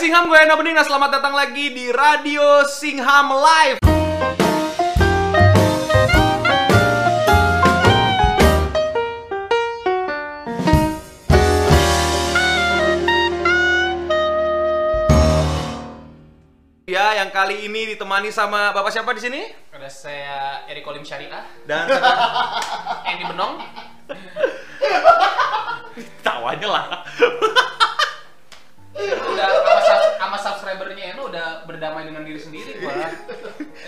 Singham, gue Eno Bening, dan selamat datang lagi di Radio Singham Live Ya, yang kali ini ditemani sama Bapak siapa di sini? Ada saya Eri Kolim Syariah, Dan Andy Benong. tawanya lah Udah sama, sub- sama subscribernya Eno udah berdamai dengan diri sendiri gua.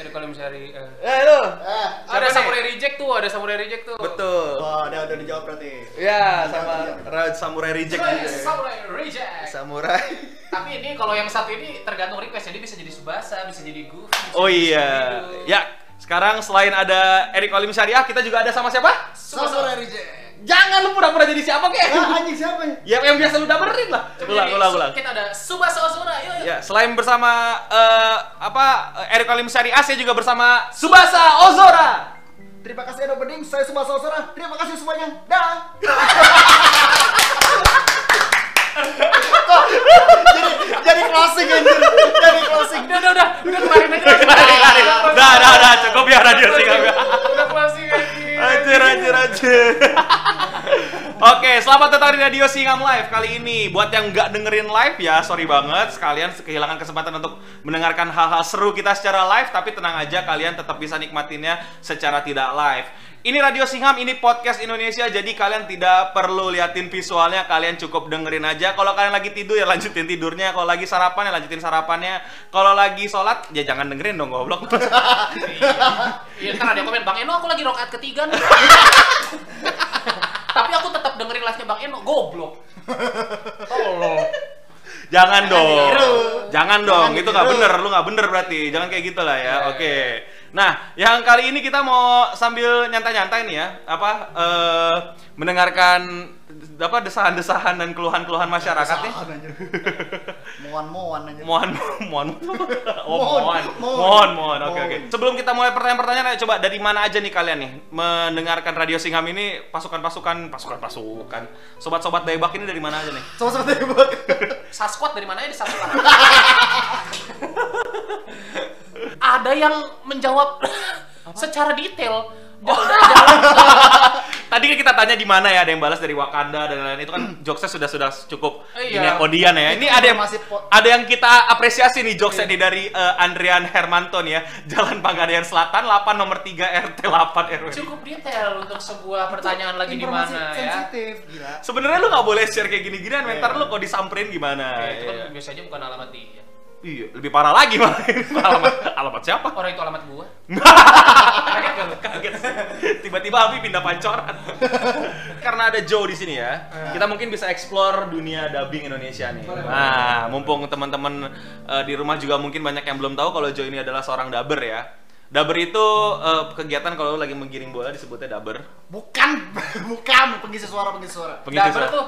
Eri Kolim Syariah. Eh lu, Eh, Ada nih? Samurai Reject tuh, ada Samurai Reject tuh. betul oh, udah udah dijawab berarti. Ya, sama Raut Samurai Reject Eh, juga ya. Samurai Reject. Samurai Tapi ini kalau yang satu ini tergantung request, jadi bisa jadi Subasa, bisa jadi Goofy. bisa Oh jadi iya. Scooby-Doo. Ya, sekarang selain ada Erik Olim Syariah, kita juga ada sama siapa? Subasa. reject. Jangan lu pura-pura jadi siapa, kek. Ah, anjing siapa ya? ya, yang biasa lu daperin lah. Coba Ulang, jadi ulang, Su- ulang. Kita ada Subasa Ozora, yuk yuk. Ya, selain bersama eh, apa Erik Olim Syariah, saya juga bersama Subasa Ozora. Terima kasih Edo Bening, saya semua saudara. Terima kasih semuanya. Dah. jadi jadi closing anjir. Jadi closing. Udah, udah, udah, udah kemarin aja. Lari, lari. Dah, dah, dah, cukup ya radio Udah Singapura. closing, Udah closing anjing. Anjir, anjir, anjir. Oke, selamat datang di Radio Singam Live kali ini. Buat yang nggak dengerin live ya, sorry banget. Sekalian kehilangan kesempatan untuk mendengarkan hal-hal seru kita secara live. Tapi tenang aja, kalian tetap bisa nikmatinnya secara tidak live. Ini Radio Singham, ini podcast Indonesia, jadi kalian tidak perlu liatin visualnya, kalian cukup dengerin aja. Kalau kalian lagi tidur ya lanjutin tidurnya, kalau lagi sarapan ya lanjutin sarapannya, kalau lagi sholat ya jangan dengerin dong goblok. Iya kan ada yang komen Bang Eno aku lagi rokaat ketiga nih. Tapi aku tetap dengerin live-nya Bang Eno, goblok. Tolol. Jangan dong. ditiru. Jangan dong. Itu nggak bener. Lu nggak bener berarti. Jangan kayak gitu lah ya. Ya, Oke. Nah, yang kali ini kita mau sambil nyantai-nyantai nih ya, apa eh mendengarkan apa desahan-desahan dan keluhan-keluhan masyarakat nih. Sahan anjir. Moan-moan anjir. Mohon, mohon, oh, Mohon, mohon, mohon. mohon, mohon. Oke, oke. Mohon. Sebelum kita mulai pertanyaan-pertanyaan, ayo coba dari mana aja nih kalian nih mendengarkan radio Singham ini pasukan-pasukan, pasukan-pasukan, sobat-sobat debak ini dari mana aja nih? Sama seperti buat. Sasquatch dari mana ya di Sasquatch? ada yang menjawab secara detail. Oh. Tadi kan kita tanya di mana ya, ada yang balas dari Wakanda dan lain-lain. Itu kan jokesnya sudah sudah cukup Iya. ini kodian ya. Ini ada yang Masih po- ada yang kita apresiasi nih jokesnya nih dari eh, Andrian Hermanton ya, Jalan Pangadaian Selatan 8 nomor 3 RT 8 RW. Cukup detail untuk sebuah pertanyaan lagi di Informasi mana ya. Sensitif, gila. Sebenarnya lu nggak boleh share kayak gini-ginian, mentar lu kok disamperin gimana? Ya, itu Iya. kan biasanya bukan alamat dia. Iya, lebih parah lagi malah. alamat, alamat siapa? Orang itu alamat gua. Kaget. Tiba-tiba Abi pindah pancoran. Karena ada Joe di sini ya. Kita mungkin bisa explore dunia dubbing Indonesia nih. Nah, mumpung teman-teman eh, di rumah juga mungkin banyak yang belum tahu kalau Joe ini adalah seorang dubber ya. Dubber itu eh, kegiatan kalau lu lagi menggiring bola disebutnya dubber. Bukan, bukan pengisi suara, pengisi suara. Pengisi Dapet suara. tuh.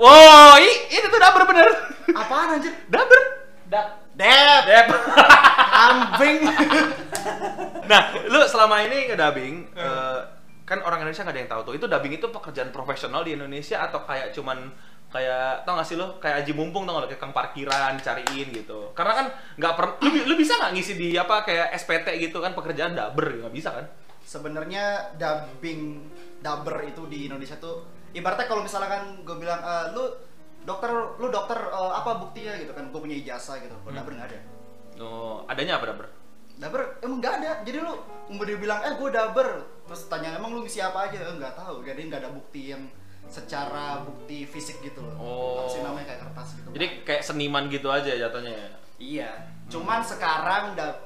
Wow, i- itu tuh dubber bener. Apaan anjir? dubber. Dap. Dep, Dep. kambing. nah, lu selama ini ngedubbing eh, kan orang Indonesia nggak ada yang tahu tuh. Itu dubbing itu pekerjaan profesional di Indonesia atau kayak cuman kayak tau gak sih lo kayak aji mumpung tau gak lo kayak kang parkiran cariin gitu karena kan nggak pernah lu, bi- lu bisa nggak ngisi di apa kayak SPT gitu kan pekerjaan dubber nggak bisa kan sebenarnya dubbing dubber itu di Indonesia tuh ibaratnya kalau misalkan gue bilang "Eh, lu dokter lu dokter eh, apa buktinya gitu kan gue punya ijazah gitu kalau dubber nggak ada no Oh, adanya apa dubber dubber emang nggak ada jadi lu mau dia bilang eh gue dubber terus tanya emang lu ngisi apa aja "Eh, nggak tahu jadi nggak ada bukti yang secara bukti fisik gitu loh Oh. apa sih namanya kayak kertas gitu jadi kayak seniman gitu aja jatuhnya ya Iya, cuman sekarang da-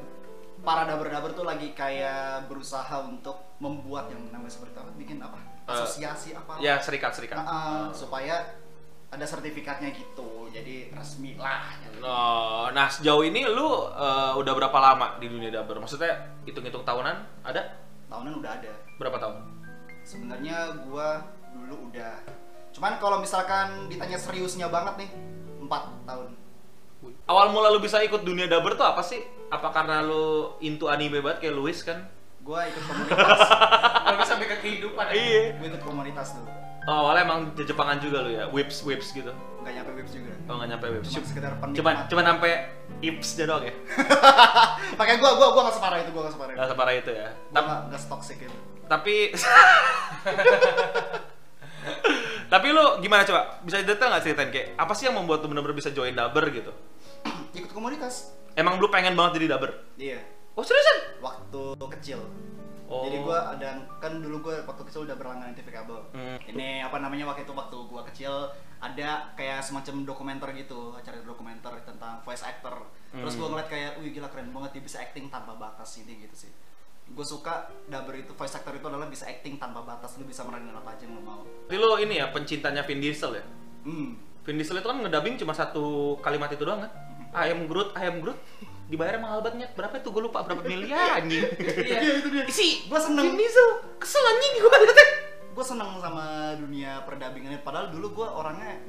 para daber-daber tuh lagi kayak berusaha untuk membuat yang namanya seperti apa, bikin apa? Eh, Asosiasi apa? ya serikat serikat Nah, eh, supaya ada sertifikatnya gitu, jadi resmi lah. no nah sejauh ini lu eh, udah berapa lama di dunia dubber maksudnya hitung hitung tahunan ada Tahunan udah ada. berapa tahun Sebenarnya gua dulu udah, cuman kalau misalkan ditanya seriusnya banget nih, 4 tahun. Awal mula lu bisa ikut dunia dubber tuh apa sih? Apa karena lu into anime banget kayak Luis kan? Gua ikut komunitas, Bagus sampai ke kehidupan. Iya. gua ikut komunitas dulu. Oh, awalnya emang Jepangan juga lu ya, whips whips gitu. nggak nyampe whips juga Oh nggak nyampe whips. Cuma sekedar penikmat. Cuman cuman sampai ips aja doang ya. makanya gua gua gua nggak separah itu gua nggak separah itu Nggak separah itu ya. gua Tapi nggak nggak toxic ya. itu tapi tapi lu gimana coba? Bisa detail nggak ceritain kayak apa sih yang membuat lu bener-bener bisa join Daber gitu? ikut komunitas Emang lu pengen banget jadi Daber? iya Oh seriusan? waktu kecil Oh. jadi gua ada kan dulu gua waktu kecil udah berlangganan TV kabel Hmm. ini apa namanya waktu itu waktu gua kecil ada kayak semacam dokumenter gitu acara dokumenter tentang voice actor terus gua ngeliat kayak wih gila keren banget dia bisa acting tanpa batas ini gitu sih gue suka dubber itu voice actor itu adalah bisa acting tanpa batas lu bisa meranin apa aja yang lu mau Tapi lu ini ya pencintanya Vin Diesel ya? hmm Vin Diesel itu kan ngedabing cuma satu kalimat itu doang kan? Ayam Groot, ayam Groot dibayar mahal banget Nyet. berapa itu gue lupa berapa miliar anjing Iya. itu dia si Gua Vin seneng. Diesel kesel anjing gue liatnya gue seneng sama dunia perdabingan ini padahal dulu gue orangnya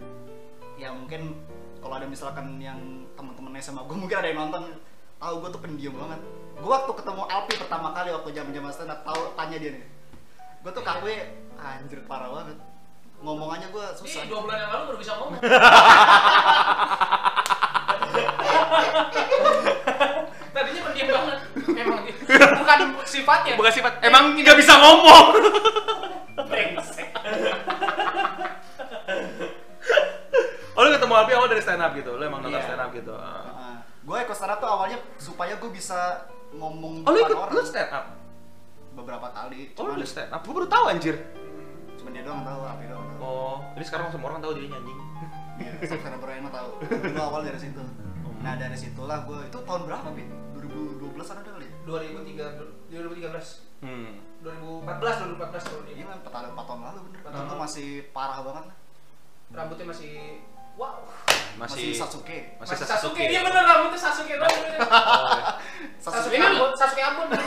ya mungkin kalau ada misalkan yang teman-temannya sama gue mungkin ada yang nonton tahu gue tuh pendiam banget gue waktu ketemu Alpi pertama kali waktu jam jam stand up tahu tanya dia nih gue tuh KW anjir parah banget ngomongannya gue Iya, susah Ini dua bulan yang lalu baru bisa ngomong. Tadinya pendiam banget. Emang dia. bukan sifatnya. bukan sifat emang nggak bisa ngomong brengsek. oh lu ketemu Alpi awal dari stand up gitu lu emang nonton Iya. stand up gitu Ah. gue ikut stand up tuh awalnya supaya gue bisa ngomong oh lu depan ikut orang lu stand up beberapa kali oh lu cuman, udah stand up gue baru tahu anjir cuman dia doang tahu Alpi doang tahu oh jadi sekarang semua orang tahu dirinya anjing Iya, subscriber Reno tahu. Dulu awal dari situ. Nah, dari situlah gue itu tahun berapa, Bin? 2012 an ada kali ya? 2013, 2013, hmm 2014, 2014 tahun ini. Iya, kan, empat- empat tahun lalu bener. Itu Heeh. tuh masih parah banget. Rambutnya masih wow. masih masih Sasuke. masih Sasuke. Sasuke. iya, Dia bener rambutnya Sasuke doang. Oh. Sasuke Sasuke. kan Ambon, Sasuke Ambon. iya.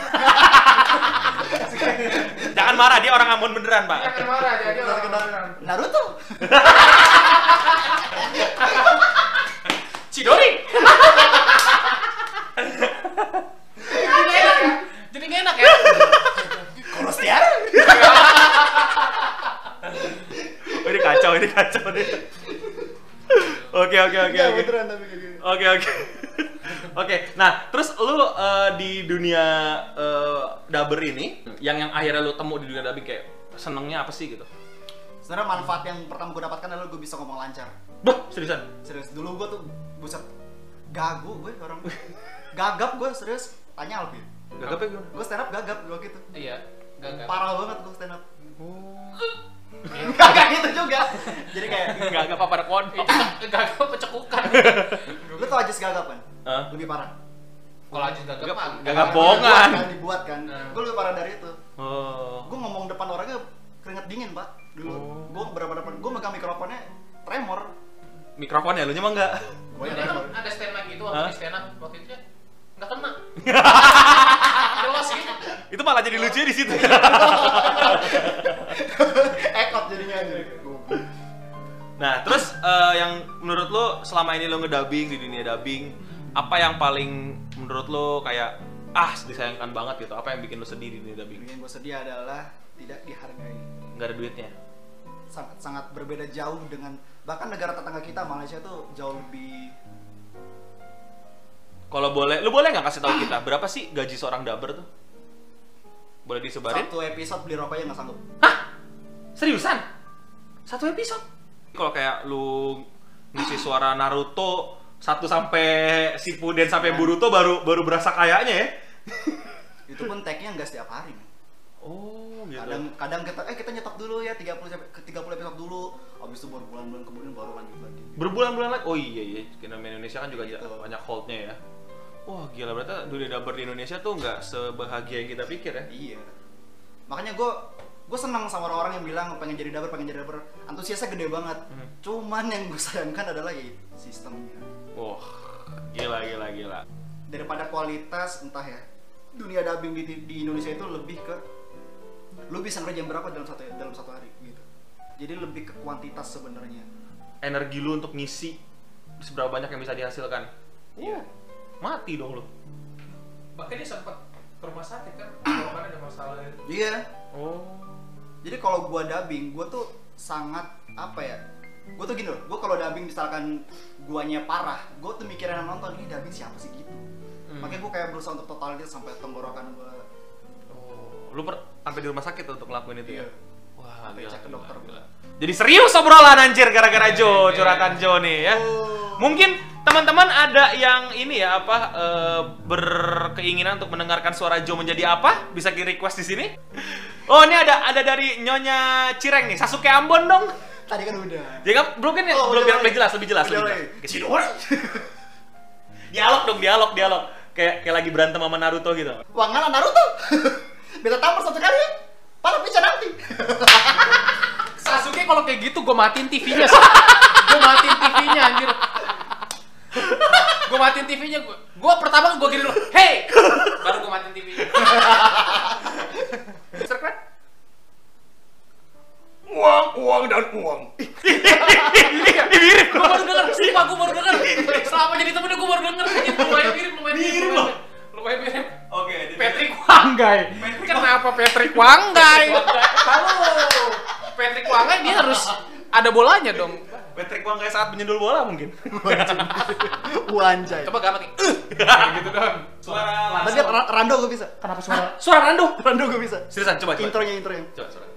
jangan marah dia orang Ambon beneran pak Jangan marah jadi orang Sasuke beneran. Naruto. Cidori Jadi nggak enak ya. Jadi nggak enak ya. Korostiara. Oh, ini kacau, ini kacau deh. Oke, oke, oke, Iya, oke. beneran tapi kayak gini. Oke, oke. Oke, nah terus lu eh, di dunia eh, dubber ini, yang yang akhirnya lu temu di dunia dubbing kayak senengnya apa sih gitu? Sebenarnya manfaat yang pertama gue dapatkan adalah gue bisa ngomong lancar. Bah, seriusan? Serius, dulu gue tuh buset gagu gue orang. Gagap gue serius. Tanya Alvin. Gak apa gimana? Gue stand up gagap gue gitu. Iya. Gagal. Parah banget gue stand up. Oh. Iya. Gagap gitu juga. Jadi kayak Gak gak apa-apa Itu gagal pecekukan. lu tau aja segala kan? Hah? Lebih parah. Kalau lanjut gagal Gagap- mah gagap gagal. bohong. Bohongan. Dibuat kan, dibuat kan. Nah. Gue lebih parah dari itu. Oh. Gue ngomong depan orangnya keringet dingin pak. Dulu Oh. gue berapa depan, gue megang mikrofonnya tremor. Mikrofonnya lu nyemang nggak? Gue Dia yang kan tremor. ada stand mic gitu Hah? waktu di stand up waktu itu ya. Nggak kena. Jelas gitu. Itu malah jadi lucu di situ. Ekot jadinya aja. Goblok. Nah, terus eh, yang menurut lo selama ini lo ngedubbing di dunia dubbing, apa yang paling menurut lo kayak ah disayangkan banget gitu? Apa yang bikin lo sedih di dunia dubbing? Yang gue sedih adalah tidak dihargai. Nggak ada duitnya. Sangat sangat berbeda jauh dengan bahkan negara tetangga kita Malaysia tuh jauh lebih Kalau boleh, lo boleh nggak kasih tahu kita berapa sih gaji seorang dubber tuh? Boleh disebarin? satu episode beli rokok aja nggak sanggup. Seriusan? Satu episode? Kalau kayak lu ngisi suara Naruto satu sampai Shippuden sampai Boruto baru baru berasa kayaknya ya? Itu pun tagnya nggak setiap hari. men. Oh, gitu. kadang kadang kita eh kita nyetok dulu ya 30 sampai- ke 30 episode dulu habis itu baru bulan-bulan kemudian baru lanjut lagi berbulan-bulan lagi oh iya iya fenomena Indonesia kan juga Gitu. banyak holdnya ya wah gila berarti dunia dubber di Indonesia tuh nggak sebahagia yang kita pikir ya iya makanya gue gue senang sama orang-orang yang bilang pengen jadi dapur pengen jadi dapur antusiasnya gede banget cuman yang gue sayangkan adalah ya sistemnya wah gila gila gila daripada kualitas entah ya dunia dubbing di, di Indonesia itu lebih ke lu bisa ngerjain berapa dalam satu dalam satu hari gitu jadi lebih ke kuantitas sebenarnya energi lu untuk ngisi seberapa banyak yang bisa dihasilkan iya mati dong lu Bahkan dia sempat ke rumah kan sakit kan. Kalau ada masalah itu. iya oh Jadi kalau gua dubbing, gua tuh sangat apa ya gue tuh gini loh gue kalau dubbing misalkan guanya parah gue tuh mikirin yang nonton ini dubbing siapa sih gitu Hmm. makanya gue kayak berusaha untuk totalitas sampai tenggorokan gue Oh, lu per- sampai di rumah sakit tuh untuk lakuin itu ya? Iya. Wah, Sampai gila, cek ke gila, dokter gila. Jadi serius obrolan anjir gara-gara Joe, Iya, curhatan Joe nih ya. Mungkin teman-teman ada yang ini ya apa eh, berkeinginan untuk mendengarkan suara Joe menjadi apa? Bisa di request di sini. Oh, ini ada ada dari Nyonya Cireng nih, Sasuke Ambon dong. tadi kan udah Ya kan belum kan ya? Oh, belum udah, biar udah. lebih jelas, lebih jelas, Udah, lebih udah. jelas. Gitu. Dialog dong, dialog, dialog. Kayak kayak lagi berantem sama Naruto gitu. Wangan Naruto beta tampar satu kali ya para bisa nanti Sasuke kalau kayak gitu gue matiin TV-nya. gue matiin TV-nya anjir. gue matiin TV-nya. Gue pertama gue gini dulu, "Hey!" Baru gue matiin TV-nya. kan? Cerkwet. Uang, uang, dan uang. Iya. Mirip. Gue baru denger, sumpah gue baru denger. Selama jadi temennya gue baru denger. Anjir, Lumayan mirip, lumayan mirip. Mirip lumayan Lumayan mirip. Oke, Patrick Wanggai. Kenapa Patrick Wanggai? Tahu. Patrick Wanggai dia harus ada bolanya dong. Patrick Wang kayak saat menyundul bola mungkin. wanjai Coba gampang nih. "Eh." Kayak gitu doang. Suara tapi Ra- Rando gue bisa kenapa suara Suara Rando. Rando gue bisa Seriusan coba coba. intronya intronya Coba suara.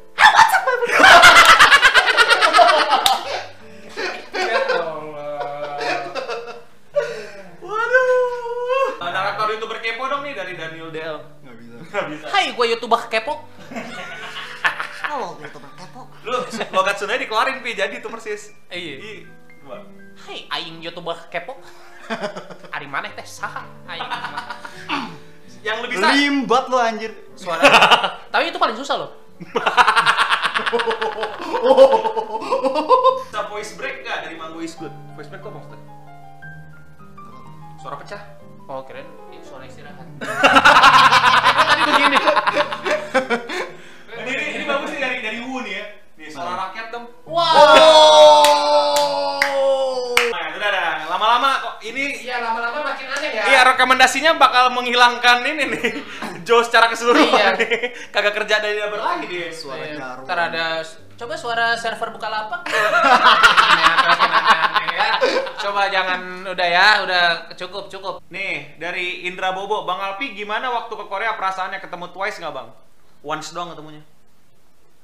Ya Allah. Waduh. Narator youtuber kepo dong nih dari Daniel Del. nggak bisa Gak bisa. Hai, gue youtuber kepo. halo gue teman kepo Lu logat Sunda dikeluarin pi jadi tuh persis. Iya. Ih, coba. Hai, aing youtuber kepo. Ari maneh teh saha? Aing. Yang lebih sa limbat lo anjir Suara. Tapi itu paling susah loh. bisa voice break nggak dari Mango is good? Voice break kok maksudnya? Suara pecah. Oh, keren. Itu suara istirahat. Tadi begini. Eh, Ini ini, ini bagus nih dari dari Wu nih ya. Nih suara rakyat dong. Wow. Nah, udah dah. Lama-lama kok ini Iya, lama-lama makin aneh ya. Iya rekomendasinya bakal menghilangkan ini nih Joe secara keseluruhan Iya. nih. Kagak kerja dari dapur lagi dia suara Iya, jarum Ntar ada coba suara server buka lapak. ya. Coba jangan udah ya, udah cukup cukup. Nih, dari Indra Bobo, Bang Alpi gimana waktu ke Korea perasaannya ketemu Twice nggak Bang? Once doang ketemunya.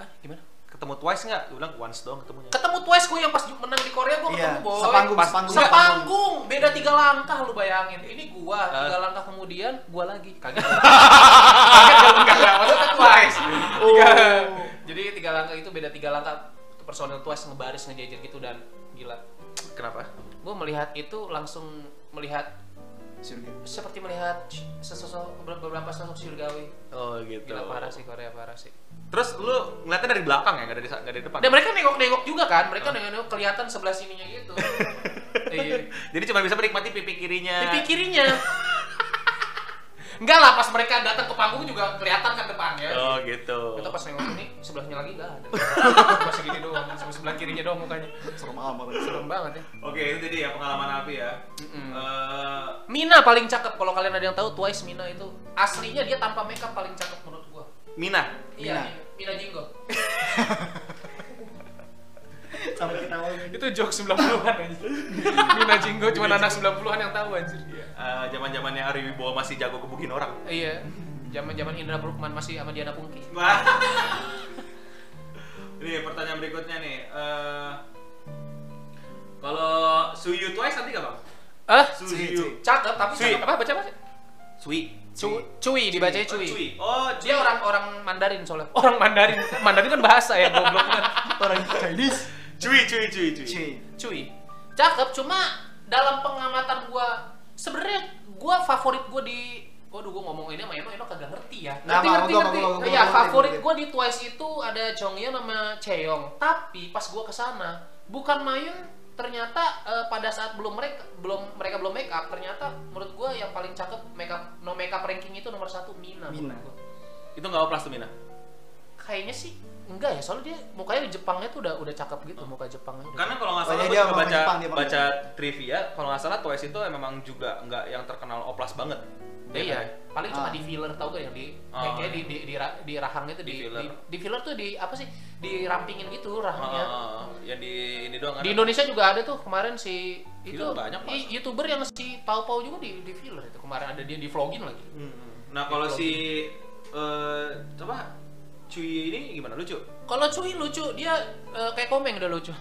Ah, gimana? Ketemu Twice nggak? Gue bilang once doang ketemunya. Ketemu Twice gue yang pas menang di Korea gue Iya, ketemu boy. sepanggung, Pas- sepanggung. sepanggung. Beda tiga langkah lu bayangin. Ini gua tiga langkah kemudian gua lagi. Eh. Kaget. Kaget gak lu? Enggak, maksudnya Twice. Oh. Tiga. Oh. Jadi tiga langkah itu beda tiga langkah personil Twice ngebaris ngejajar gitu dan gila. Kenapa? Gue melihat itu langsung melihat surga seperti melihat sesosok beberapa sosok surgawi. Oh gitu. Gila parah sih Korea parah sih. Terus lu ngeliatnya dari belakang ya, nggak dari nggak dari depan. Dan mereka nengok-nengok juga kan, mereka nengok-nengok kelihatan sebelah sininya gitu. iya. Jadi cuma bisa menikmati pipi kirinya. Pipi kirinya. Enggak lah pas mereka datang ke panggung juga kelihatan kan depannya. Oh gitu. Itu pas nengok ini sebelahnya lagi enggak ada. Masih gini doang, sama sebelah kirinya doang mukanya. serem amat Serem banget ya. Oke itu jadi ya pengalaman Alpi ya. Mm-mm. Eh, Mina paling cakep kalau kalian ada yang tahu Twice Mina itu aslinya dia tanpa makeup paling cakep menurut gua. Mina. Iya, Mina. Mina Jinggo. sampai kita ngomongin. Itu joke 90-an anjir. Mina Jinggo cuma anak 90-an yang tahu anjir. Eh, Zaman-zamannya Ari Wibowo masih jago gebukin orang. Iya. Zaman-zaman Indra Brukman masih sama Diana Pungki. Wah. Nih pertanyaan berikutnya nih. Eh, kalau Suyu Twice nanti gak bang? Eh, Suyu. cakep tapi Sui. cakep. apa baca apa sih? Sui. Cu- cuy dibacanya Oh, cuy. Cui. Oh, Dia orang orang Mandarin soalnya. Orang Mandarin. Mandarin kan bahasa ya goblok kan. orang Chinese Cui, cui, cui, cui. Cie. Cuy. Cakep cuma dalam pengamatan gua sebenarnya gua favorit gua di Waduh, gua ngomong ini sama Eno, Eno kagak ngerti ya. Nah, Ngerti, sama ngerti, gua, ngerti. sama gua, sama Iya, gua, favorit ngerti. gua di Twice itu ada Chonghyun sama Cheong. Tapi pas gua kesana, bukan main ternyata eh, pada saat belum mereka belum mereka belum make up ternyata menurut gua yang paling cakep make up no make up ranking itu nomor satu Mina. Mina. menurut gua. Itu nggak oplas tuh Mina. kayaknya sih enggak ya soalnya dia mukanya di Jepangnya tuh udah udah cakep gitu muka Jepangnya udah Karena kalau nggak salah Oh, iya, gua dia juga orang baca Jepang, dia orang baca trivia, kalau nggak salah Twice itu memang juga nggak yang terkenal oplas banget. Iya, Iya. paling cuma Ah. di filler tau gak yang di Oh, kayak kayak di, iya. di di ra- di rahangnya tuh Di di di filler. filler. Di, filler tuh di apa sih? Dirampingin gitu rahangnya. Ah, yang di ini doang kan? Di Indonesia juga ada tuh kemarin si itu ah. Filler banyak, Mas. i- youtuber yang si Pau Pau juga di, di filler itu kemarin ada dia di vlogin lagi. Nah kalau si eh apa cuy ini gimana lucu? Kalau cuy lucu dia eh, kayak komeng udah lucu.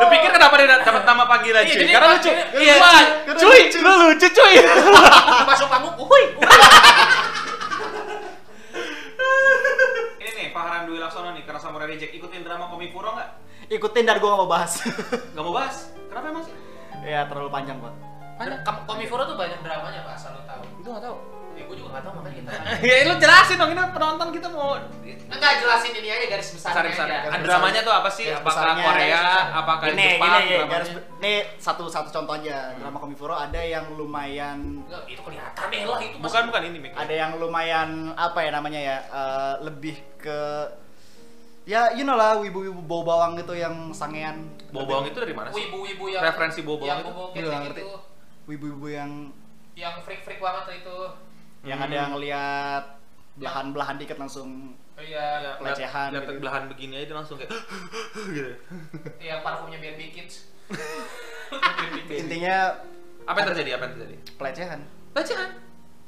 Lu pikir kenapa dia dapat nama panggilan Iya, cuy? jadi Karena pas- lucu. iya, Wah, karena cuy, lucu. lu lucu cuy. Masuk panggung, uhuy. ini nih Fahran Dwi Laksono nih karena Samurai Reject ikutin drama Komifuro nggak? Ikutin dan gua gak mau bahas. Gak mau bahas. Kenapa emang sih? ya terlalu panjang pak. Banyak Kam- Komifuro tuh banyak dramanya, Pak, asal lo tahu. Itu nggak tahu. Ya, gue juga gak tahu makanya kita. ya lu jelasin dong ini penonton kita mau Iya. Enggak jelasin ini aja garis besarnya. besar-besarnya. aja. Garis Dramanya tuh apa sih? Garis Apakah besarnya, Korea? garis besarnya. Apakah Gini, Jepang? gini, dramanya? garis- ini satu satu contoh aja. Drama Komifuro ada yang lumayan Enggak, itu kelihatan deh lah itu. Mas. Bukan bukan ini Mik. ada yang lumayan apa ya namanya ya eh, lebih ke ya you know lah wibu-wibu bau bawang gitu yang sangean Bau bawang itu dari mana sih? wibu-wibu yang Referensi bobo yang itu. bobo Iya, ketek ngerti. itu wibu-wibu yang yang freak freak banget itu yang Hmm. ada yang lihat belahan-belahan dikit langsung iya pelecehan Lihat gitu. belahan begini aja dia langsung kayak gitu. yang Iya, parfumnya BNB Kids intinya Apa yang terjadi? Apa yang terjadi? pelecehan bacaan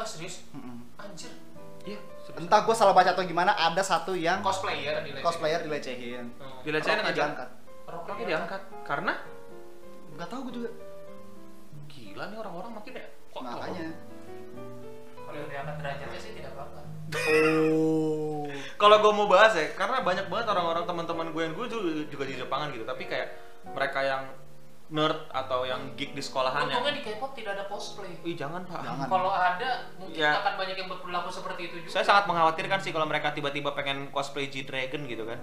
oh serius Mm-mm. anjir Iya. entah gue salah baca atau gimana ada satu yang cosplayer di cosplayer dilecehin Dilecehin Roknya nggak diangkat. diangkat ya? Roknya diangkat. Karena nggak tahu gue juga gila nih orang-orang makin ya. kotor. makanya kalau yang diangkat derajatnya sih tidak apa-apa oh Kalau gue mau bahas ya, karena banyak banget orang-orang teman-teman gue yang gue juga, juga di Jepangan gitu, tapi kayak mereka yang nerd atau yang geek di sekolahan yang, untungnya di K-pop tidak ada cosplay ih jangan pak. Jangan. kalau ada mungkin Ya. akan banyak yang berperilaku seperti itu juga Saya sangat mengkhawatirkan sih kalau mereka tiba-tiba pengen cosplay G Dragon gitu kan.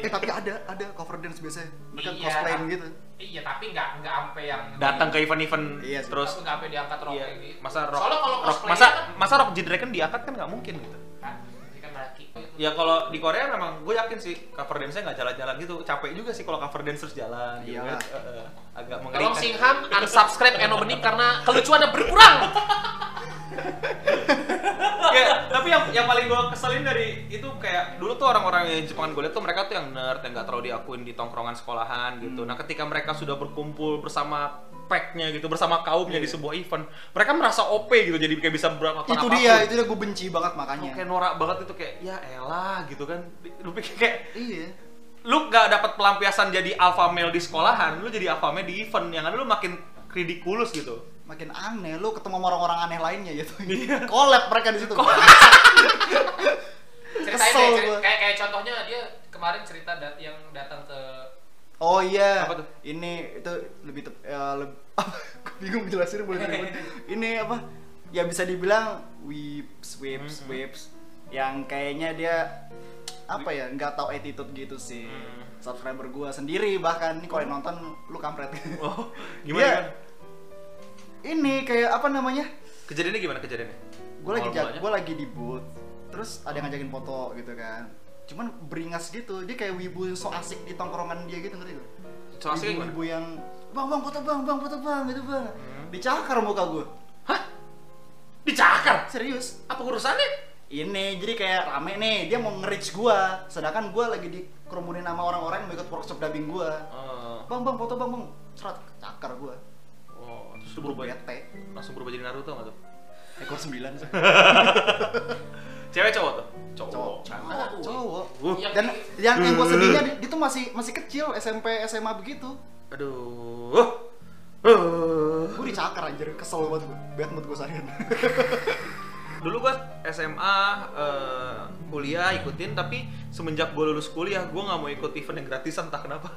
eh tapi ada ada cover dance biasanya mereka Iya. cosplayin gitu iya tapi nggak nggak sampai yang Datang ke event-event Iya sih. terus nggak sampai diangkat roknya Iya, gitu masa rock, soalnya kalau rock- cosplayer masa kan, masa rock G Dragon diangkat kan nggak mungkin gitu. kan ini kan laki Ya kalau di Korea memang gue yakin sih cover dance-nya nggak jalan-jalan gitu. Capek juga sih kalau cover dance terus jalan gitu Iyalah. kan. Eh, eh, agak Tolong mengerikan. Singham unsubscribe Eno Bening karena kelucuannya berkurang. ya, tapi yang yang paling gue keselin dari itu kayak dulu tuh orang-orang yang Jepangan gue liat tuh mereka tuh yang nerd yang gak terlalu diakuin di tongkrongan sekolahan gitu. Hmm. Nah ketika mereka sudah berkumpul bersama packnya gitu bersama kaumnya di sebuah event, mereka merasa OP gitu jadi kayak bisa berapa Iya. itu dia itu dia gue benci banget makanya kayak norak banget itu kayak ya elah gitu kan. Lu pikir kayak iya lu gak dapat pelampiasan jadi alpha male di sekolahan, lu jadi alpha male di event yang ada lu makin ridiculous gitu. makin aneh lu ketemu sama orang-orang aneh lainnya gitu collab mereka di situ Ceritain Kesel deh, ceri- gua. kayak kayak contohnya dia kemarin cerita dat- yang datang ke oh iya Apa tuh? ini itu lebih tep, ya, leb- apa? Gua bingung jelasin boleh diribut. ini apa ya bisa dibilang Hmm. whips whips whips yang kayaknya dia apa ya nggak tahu attitude gitu sih Hmm. subscriber gua sendiri bahkan ini kalau yang nonton lu kampret Oh, Dia- gimana? gimana? ini kayak apa namanya Kejadiannya gimana kejadiannya? gue lagi Awal-awalnya? gue lagi di booth terus ada yang ngajakin foto gitu kan cuman beringas gitu dia kayak wibu yang so asik di tongkrongan dia gitu ngerti gak? So asiknya gimana? Hmm. wibu yang bang bang foto bang bang foto bang gitu bang dicakar muka gue Hah? Dicakar? serius Apa urusannya? ini jadi kayak rame nih dia mau nge-reach gue sedangkan gue lagi dikerumunin sama orang-orang yang mau ikut workshop dubbing gue Eh, bang bang foto bang bang serat cakar gue oh, terus lu berubah bete langsung berubah jadi Naruto nggak tuh? ekor sembilan sih Cewek cowok tuh? cowok Cakar. cowok Iya. Uh. yang dan yang yang gue sedihnya dia, dia tuh masih masih kecil SMP SMA begitu Aduh. Uh. gue dicakar anjir kesel banget gue bad mood gue seharian Dulu gua SMA eh, kuliah ikutin tapi semenjak gua lulus kuliah gua nggak mau ikut event yang gratisan entah kenapa.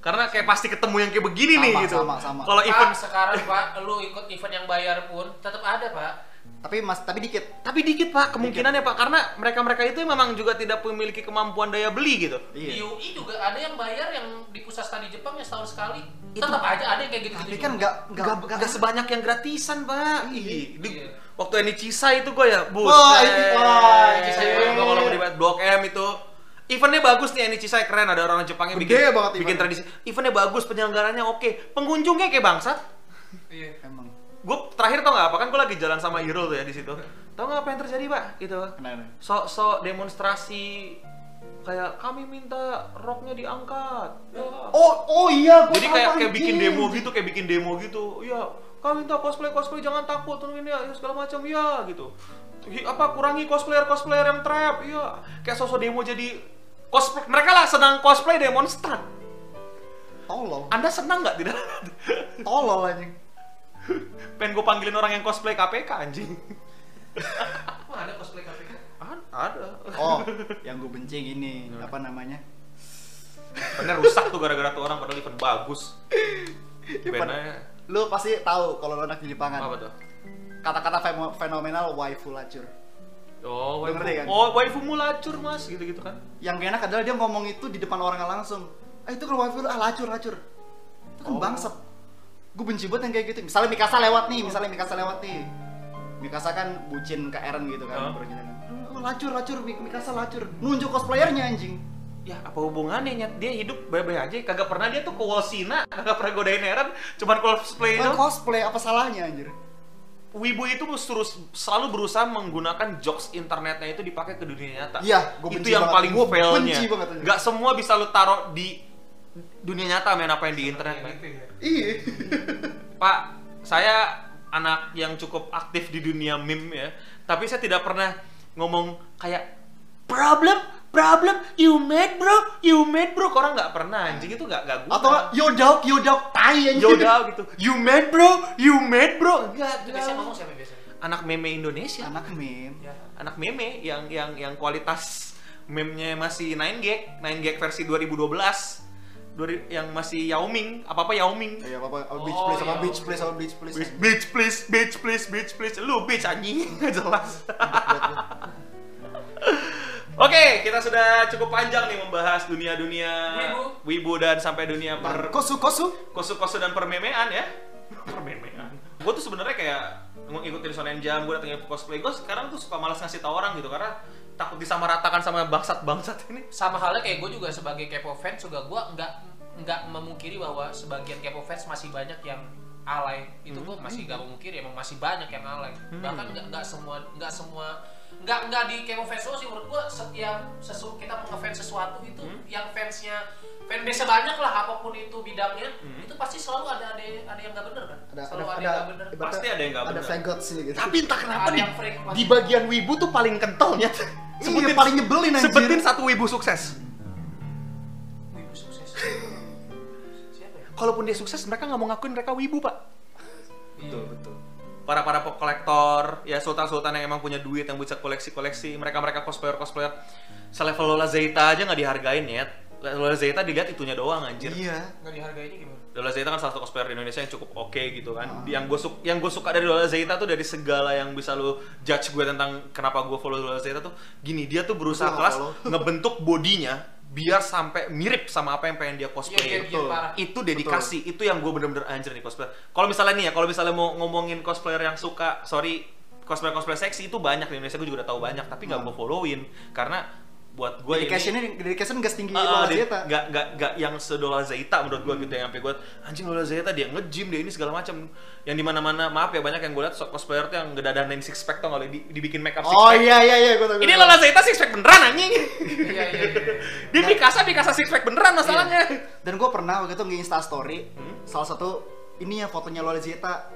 Karena kayak pasti ketemu yang kayak begini Sama, nih gitu. sama, sama. Kalau Pak, event sekarang Pak, lu ikut event yang bayar pun tetap ada Pak. tapi mas tapi dikit tapi dikit pak kemungkinannya pak karena mereka-mereka itu memang juga tidak memiliki kemampuan daya beli gitu. Di iya UI juga ada yang bayar yang di pusat studi Jepang yang setahun sekali. Tetap aja ada yang kayak gitu. tapi kan nggak nggak Gak, gak, nggak sebanyak yang gratisan pak. Ih, di- Iya. Waktu ini Cisa itu gue ya, bu. Wah, iya, ini- wah, ini Cisa. Kalau di Blok M itu Eventnya bagus nih, ini Cisa keren ada orang Jepangnya bikin, Gede banget bikin eventnya. tradisi. Eventnya bagus, penyelenggaranya oke, pengunjungnya kayak bangsat. Iya. emang gue terakhir tau nggak apa kan gue lagi jalan sama Irul tuh ya di situ tau nggak apa yang terjadi pak gitu Kenapa? sok-sok demonstrasi kayak kami minta roknya diangkat Oh, oh iya, gua jadi tahu, kayak kayak bikin anjing. demo gitu kayak bikin demo gitu ya kami minta cosplay cosplay jangan takut turunin ya, ya segala macam ya gitu Hi- apa kurangi cosplayer cosplayer yang trap ya kayak sosok demo jadi cosplay mereka lah senang cosplay demonstran Tolol, anda senang nggak tidak tolol anjing. pengen gue panggilin orang yang cosplay KPK anjing Wah, ada cosplay KPK. Ad- ada Oh, yang gue benci ini apa namanya? bener rusak tuh gara-gara tuh orang padahal event bagus Bandnya Lu pasti tahu kalau lu anak di Jepangan. apa tuh Kata-kata femo- fenomenal waifu lacur. Oh, Lu waifu, ngerti kan? oh, waifu mulacur mas, gitu-gitu kan? Yang gak enak adalah dia ngomong itu di depan orang langsung. Ah itu kalau waifu lu, ah lacur lacur. Itu kan Oh. bangsat. Gue benci banget yang kayak gitu. Misalnya Mikasa lewat nih, misalnya Mikasa lewat nih. Mikasa kan bucin ke Eren gitu Huh? kan, berjalan. Oh, lacur lacur Mik- Mikasa lacur. Nunjuk cosplayernya anjing. Ya apa hubungannya Nyet? Dia hidup baik-baik aja, kagak pernah dia tuh ke Wolsina, kagak pernah godain Eren, cuman cosplay Kan itu. cosplay apa salahnya anjir? Wibu itu terus selalu berusaha menggunakan jokes internetnya itu dipakai ke dunia nyata. Iya, gua itu benci yang banget. paling Gua failnya. benci banget aja. Gak semua bisa lu taruh di dunia nyata men apa yang di internet. men. Gitu ya. Iya. Pak, saya anak yang cukup aktif di dunia meme ya, tapi saya tidak pernah ngomong kayak problem, problem, you mad bro, you mad bro, Ke orang nggak pernah anjing itu nggak nggak guna. Atau yodauk yodauk tai anjing. Yoda gitu, you mad bro, you mad bro, Itu enggak Biasanya enggak. ngomong siapa biasanya? Anak meme Indonesia, anak meme. Ya. anak meme yang yang yang kualitas meme-nya masih 9gag, 9gag versi 2012 Dua- yang masih Yao Ming, apa-apa Yao Ming. Iya, apa apa Oh, beach please apa iya. beach please apa beach please. Bitch, bitch, please, bitch, please, bitch, please. Lu bitch anjing, nggak jelas. Oke, kita sudah cukup panjang nih membahas dunia-dunia Wibu. wibu dan sampai dunia per Kosu kosu. kosu-kosu dan permemean ya. permemean. Gue tuh sebenarnya kayak ngikutin Shonen Jump, gue datengin cosplay. Gue sekarang tuh suka malas ngasih tau orang gitu karena takut disamaratakan sama bangsat-bangsat ini. Sama halnya kayak gue juga sebagai Kepo fans juga gue nggak nggak memungkiri bahwa sebagian Kepo fans masih banyak yang alay. Itu gue masih nggak memungkiri emang masih banyak yang alay. Bahkan nggak nggak semua nggak semua nggak nggak di Kepo fans doang sih menurut gue setiap sesu, kita ngefans sesuatu itu yang fansnya fanbase banyak lah apapun itu bidangnya itu pasti selalu ada ada ada yang nggak bener kan? Ada ada selalu ada, ada yang nggak bener. ibaratnya Pasti ada yang nggak Ada bener. fagot sih gitu. Tapi entah kenapa Ada nih yang freak di pasti. bagian wibu tuh paling kentalnya. Iya, paling nyebelin, anjir. Sebutin satu wibu sukses. Wibu sukses. Siapa ya? kalaupun dia sukses mereka nggak mau ngakuin mereka wibu pak Betul Iya. betul. para para pop kolektor ya sultan sultan yang emang punya duit yang bisa koleksi koleksi mereka mereka cosplayer cosplayer selevel Lola Zeta aja nggak dihargain ya Lola Zeta dilihat itunya doang anjir Iya. Nggak dihargainya gimana? Lola Zeta kan salah satu cosplayer di Indonesia yang cukup oke gitu kan. Yang gue suka yang gue suka dari Lola Zeta tuh dari segala yang bisa lu judge gue tentang kenapa gue follow Lola Zeta tuh gini dia tuh berusaha Gua nggak kelas follow. ngebentuk bodinya biar sampai mirip sama apa yang pengen dia Iya, cosplay. iya, iya, parah. Itu dedikasi, itu yang gue bener-bener anjir nih cosplayer. Kalau misalnya nih ya, kalau misalnya mau ngomongin cosplayer yang suka, sorry cosplayer cosplayer seksi itu banyak di Indonesia gue juga udah tahu banyak tapi nggak Hmm. gue followin karena buat gue Dedication-nya dedication gak setinggi Ah, Lola dia- Iya, Zeta. Nggak nggak nggak yang sedola Zeta menurut gua gitu yang sampai gua anjing Lola Zeta dia nge-gym dia ini segala macam. Yang di mana-mana maaf ya banyak yang gua lihat so- cosplayer tuh yang gedadanin six pack tuh kalau di, dibikin makeup six Oh pack. iya iya iya gua tahu. Ini ya, Lola Zeta six pack beneran anjing. Iya iya iya. dia Mikasa Mikasa six pack beneran masalahnya. Iya. Hmm? Dan gue pernah waktu itu nge-insta story salah satu ini ya fotonya Lola Zeta.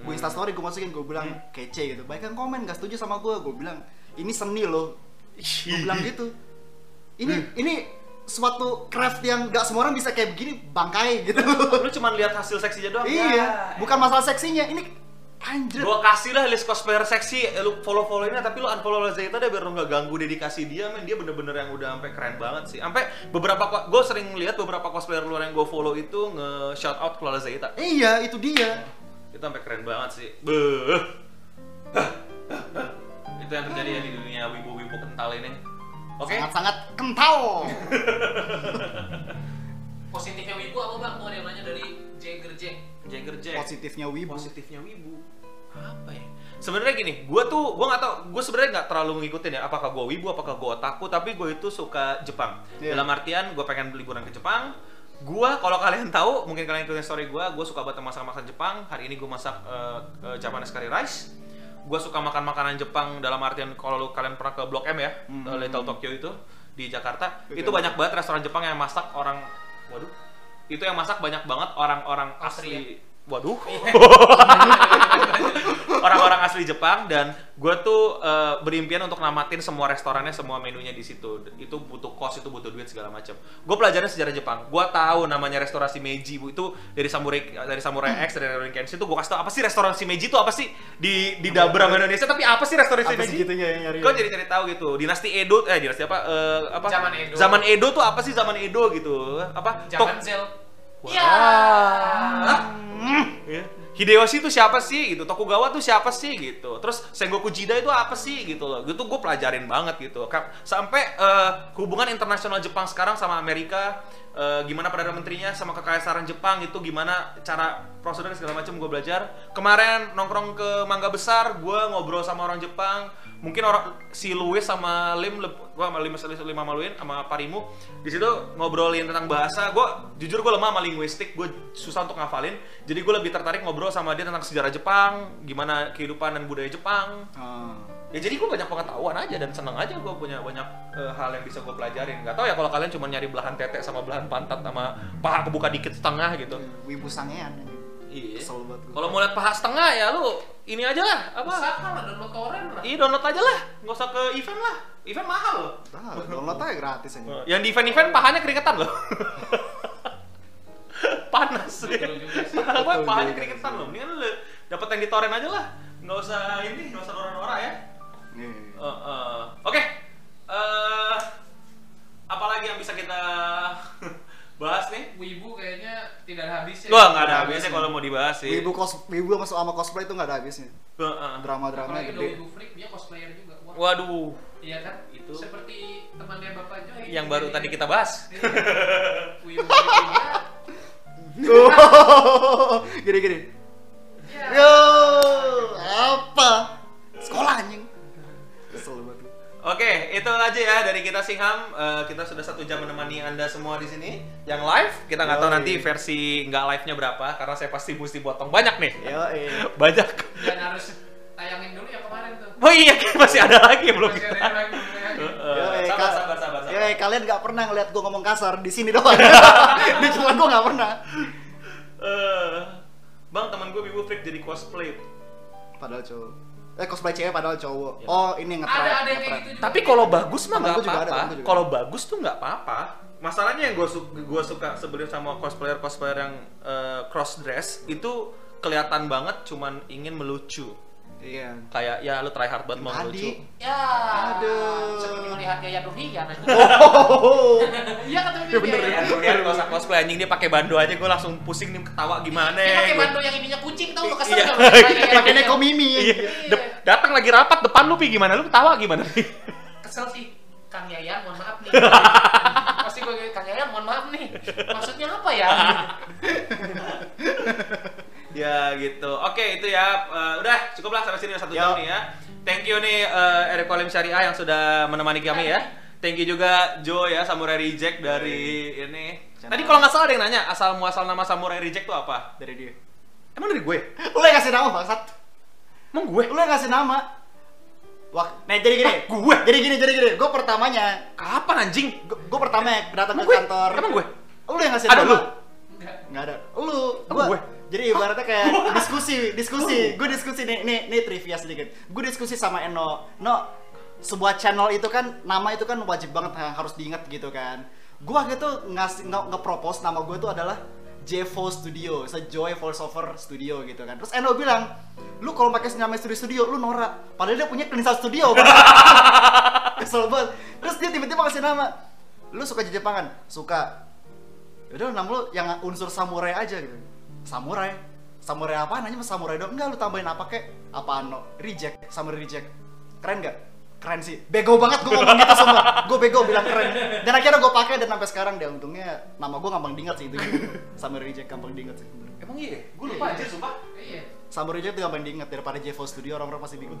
Gue insta Hmm. story gue masukin gue bilang kece gitu. Banyak yang komen gak setuju sama gue. Gue bilang ini seni loh. Gue bilang gitu. Ini Hmm. ini suatu craft yang gak semua orang bisa kayak begini bangkai gitu. Lu cuman lihat hasil seksinya doang. Ya, iya, bukan masalah seksinya. Ini anjir. Gua kasih lah list cosplayer seksi, eh, lu follow follow-nya tapi lu unfollow Lola Zeta deh biar lu nggak ganggu dedikasi dia, men. Dia bener-bener yang udah sampai keren banget sih. Sampai beberapa ko- gua sering lihat beberapa cosplayer luar yang gua follow itu nge shout out ke Lola Zeta. Iya, itu dia. itu sampai keren banget sih Beuh. itu yang terjadi ya di dunia wibu-wibu kental ini oke Sangat-sangat kental. Positifnya wibu apa bang? Tuh ada yang nanya dari Jagger Jack. jagger jack Positifnya wibu. positifnya wibu apa ya sebenarnya gini gue tuh gue nggak tau gue sebenarnya nggak terlalu ngikutin ya apakah gue wibu apakah gue otaku tapi gue itu suka Jepang Iya. dalam artian gue pengen liburan ke Jepang Gua kalau kalian tahu, mungkin kalian ikutin story gua, gua suka banget masak masakan Jepang. Hari ini gua masak eh, eh, Japanese curry rice. Gua suka makan makanan Jepang dalam artian kalau lu- kalian pernah ke Blok M ya, Hmm. eh, Little Tokyo itu di Jakarta. Oke. Itu banyak banget restoran Jepang yang masak orang waduh. Itu yang masak banyak banget orang-orang asli waduh. orang-orang asli Jepang dan gue tuh eh, berimpian untuk namatin semua restorannya semua menunya di situ itu butuh kos itu butuh duit segala macam gue pelajarin sejarah Jepang gue tahu namanya restorasi Meiji Bu. itu dari samurai dari samurai X dari Rurouni Kenshin itu gue kasih tau apa sih restorasi Meiji itu apa sih di di dabra sama Indonesia tapi apa sih restorasi Apa Meiji sih gitu? gitunya yang nyari? gue jadi cari tahu gitu dinasti Edo eh dinasti apa eh, apa Zaman Edo. zaman Edo tuh apa sih zaman Edo gitu apa Zaman Tok- Zel. Wah. Ya. Hah? Iya. Ya. Hideyoshi itu siapa sih gitu, Tokugawa tuh siapa sih gitu, terus Sengoku Jida itu apa sih gitu loh, gitu gue pelajarin banget gitu, Ka- sampai eh, hubungan internasional Jepang sekarang sama Amerika, eh, gimana perdana menterinya sama kekaisaran Jepang itu gimana cara prosedur segala macam gue belajar. Kemarin nongkrong ke Mangga Besar, gue ngobrol sama orang Jepang, mungkin orang si Louis sama Lim, leb- gua sama Lim lima maluin sama Parimu di situ ngobrolin tentang bahasa. Gua jujur gue lemah sama linguistik, gue susah untuk ngafalin. Jadi gue lebih tertarik ngobrol sama dia tentang sejarah Jepang, gimana kehidupan dan budaya Jepang. Ah. Ya jadi gue banyak pengetahuan aja dan seneng aja gue punya banyak eh, hal yang bisa gue pelajarin. Gak tau ya kalau kalian cuma nyari belahan tete sama belahan pantat sama paha kebuka dikit setengah gitu. Wibu sangean. anjing. Iya. Kesel banget gua. Kalau mau lihat paha setengah ya lu ini aja lah apa? Usahakan lah download torrent lah. Iya download aja lah, nggak usah ke event lah. Event mahal loh. Tahu, Nah, Ah, download aja gratis aja. Yang di event-event pahanya keringetan loh. Panas. Betul juga sih. Mahal banget Betul pahanya juga keringetan sih. loh. Mendingan lu dapet yang di torrent aja lah. Nggak usah ini, nggak usah nora-nora Iya. ya. Nih. Eh, eh. Oke. Eh, apalagi yang bisa kita bahas nih? Wibu kayaknya tidak ada habisnya. Wah, nggak ada Nggak habisnya habisnya. kalau mau dibahas sih. Wibu cos Wibu sama sama cosplay itu nggak ada habisnya. Eh, eh. Drama-drama Apalagi udah gede. Wibu freak dia cosplayer juga. Wah. Waduh, Iya kan? Itu. Seperti temannya Bapak Joy. yang baru tadi kita bahas. Iya. Wibu freak juga. Gini gini. Ya. Yo, apa? Sekolah anjing. Kesel banget. gua. Oke, itu aja ya dari kita Singham. Eh, kita sudah satu jam menemani anda semua di sini. Yang live, kita nggak tahu Yoi. nanti versi nggak live-nya berapa, karena saya pasti mesti potong banyak nih. Yo, eh. Banyak. Dan harus tayangin dulu ya kemarin tuh. Oh iya, masih ada lagi yang belum Masih kita. ada yang lagi, masih ada yang lagi. Eh, Yo, eh, sabar, Kak. sabar, sabar, Yo, sabar. eh, kalian nggak pernah ngeliat gua ngomong kasar di sini doang. di cuma gua nggak pernah. Eh, bang, teman gue Bibu Freak jadi cosplay. Padahal cowok. Eh cosplay cewek padahal Iya. cowok. Oh ini ngetren. Ada ada yang kayak gitu juga. Tapi kalau bagus mah Temen nggak gua juga ada, apa-apa. temen gua juga Kalau bagus tuh nggak apa-apa. Masalahnya yang gue suka sebelum sama cosplayer cosplayer yang eh, cross dress itu kelihatan banget cuman ingin melucu. Iya. Kayak ya lu try hard banget mau Tadi. melucu. Ya. Aduh. Seperti melihat Yayan Ruhian aja. Oh. Iya kan tapi Ya, bener, Yayan. Lihat- lihat gak usah cosplay anjing dia pakai bando aja gue langsung pusing nih ketawa gimana Dia Iya, pakai gitu. bando yang ininya kucing tau lu kesel Iya. nggak? Pakai neko mimi. Iya. Dep- datang lagi rapat depan lu pi gimana lu ketawa gimana pi kesel sih Kang Yayan mohon maaf nih pasti gue Kang Yayan mohon maaf nih maksudnya apa ya ya gitu oke itu ya Eh, udah cukup lah sampai sini udah satu jam Yo. nih ya thank you nih eh, Eric Kolim Syariah yang sudah menemani kami ya thank you juga Joe ya Samurai Reject dari ini tadi kalau nggak salah ada yang nanya asal muasal nama Samurai Reject tuh apa Dari dia. emang dari gue Lu yang kasih nama bangsat. emang gue Lu yang kasih nama. Wah, nah Ah, jadi gini. gue. Jadi gini, jadi gini. Gue pertamanya, kapan anjing gue, gue pertama yang datang emang ke gue kantor. emang gue Lu yang ngasih Ada nama. lu? enggak Nggak ada. Lu, Emang gue. gue? Jadi ibaratnya kayak diskusi, diskusi. Gue diskusi nih, nih, nih trivia sedikit. Gue diskusi sama Eno. No, sebuah channel itu kan nama itu kan wajib banget ha- harus diingat gitu kan. Gue waktu itu ngasih nge- nge-propose nama gue itu adalah J4 Studio, se-Joy Voiceover Studio gitu kan. Terus Eno bilang, lu kalau pakai nama Studio Studio, lu norak. Padahal dia punya Clinical Studio. Kesel banget. Terus dia tiba-tiba kasih nama, lu suka Jepangan? Suka Ya udah nama lu yang unsur samurai aja gitu samurai samurai apa nanya mas samurai doang enggak lu tambahin apa kek apaan no reject samurai reject keren gak keren sih bego banget gue ngomong gitu semua gue bego bilang keren dan akhirnya gue pakai dan sampai sekarang dia untungnya nama gue gampang diingat sih itu samurai reject gampang diingat sih emang iya gue lupa anjir, sumpah iya samurai reject tuh gampang diingat daripada J4 Studio orang-orang pasti bingung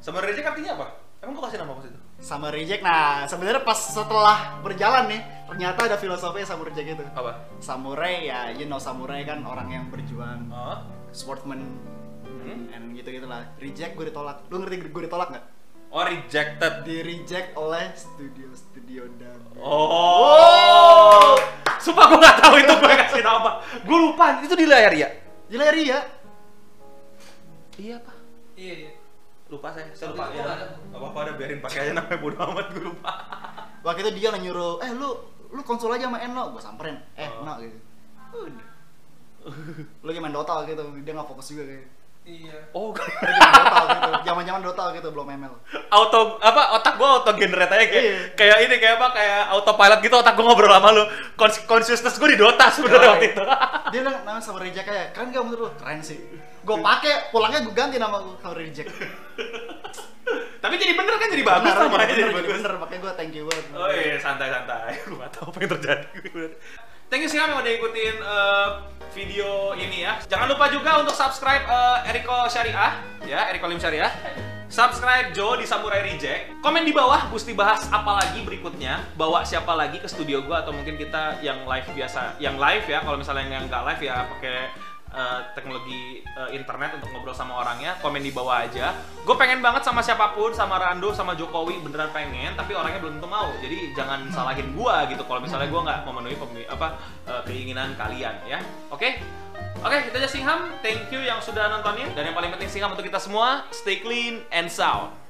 Sama reject artinya apa? Emang gua kasih nama apa itu? sama reject nah sebenarnya pas setelah berjalan nih ternyata ada filosofi sama reject itu Apa? samurai ya you know samurai kan orang yang berjuang Oh. sportsman Hmm. and gitu gitulah reject gue ditolak lu ngerti gue ditolak nggak Oh, rejected. di reject oleh studio studio dan Oh. Sumpah gua gak tahu itu gua kasih nama apa. Gua lupa. Itu di layar ya? gila ri ya Iya, Pak. Iya, iya. Lupa saya. Tapi Saya lupa. gua Ya. nggak ada. Gak apa-apa ada biarin pakai aja namanya bodo amat gua lupa. waktu itu dia yang nyuruh eh lu lu konsol aja sama Eno gue samperin eh Oh. Eno gitu Udah. lu kayak main Dota gitu dia nggak fokus juga kayaknya Iya. Oh, Dia main Dota gitu zaman-zaman Dota gitu belum ML auto apa otak gua auto generate aja kayak Iya. kayak ini kayak apa kayak autopilot gitu otak gua ngobrol sama lu. Cons consciousness gua di Dota sebenarnya Yoi. waktu itu. dia bilang nama sama reject kayak keren gak menurut lu keren sih gue pakai pulangnya gue ganti nama gue sama reject Tapi jadi bener kan jadi bagus Bener, namanya bener, jadi bener, bagus. bener, makanya gue thank you banget Oh iya, santai-santai. Gue gak tau apa yang terjadi. Thank you Singam yang udah ikutin eh, video ini ya. Jangan lupa juga untuk subscribe eh, Eriko Syariah, ya Eriko Lim Syariah. Subscribe Joe di Samurai Reject. Komen di bawah, Gusti bahas apa lagi berikutnya. Bawa siapa lagi ke studio gua atau mungkin kita yang live biasa, yang live ya. Kalau misalnya yang nggak live ya pakai eh, teknologi eh, internet untuk ngobrol sama orangnya komen di bawah aja gue pengen banget sama siapapun sama Rando sama Jokowi beneran pengen tapi orangnya belum tentu mau jadi jangan salahin gue gitu kalau misalnya gue nggak memenuhi pemi- apa eh, keinginan kalian ya oke oke itu aja Singham thank you yang sudah nontonin dan yang paling penting Singham untuk kita semua stay clean and sound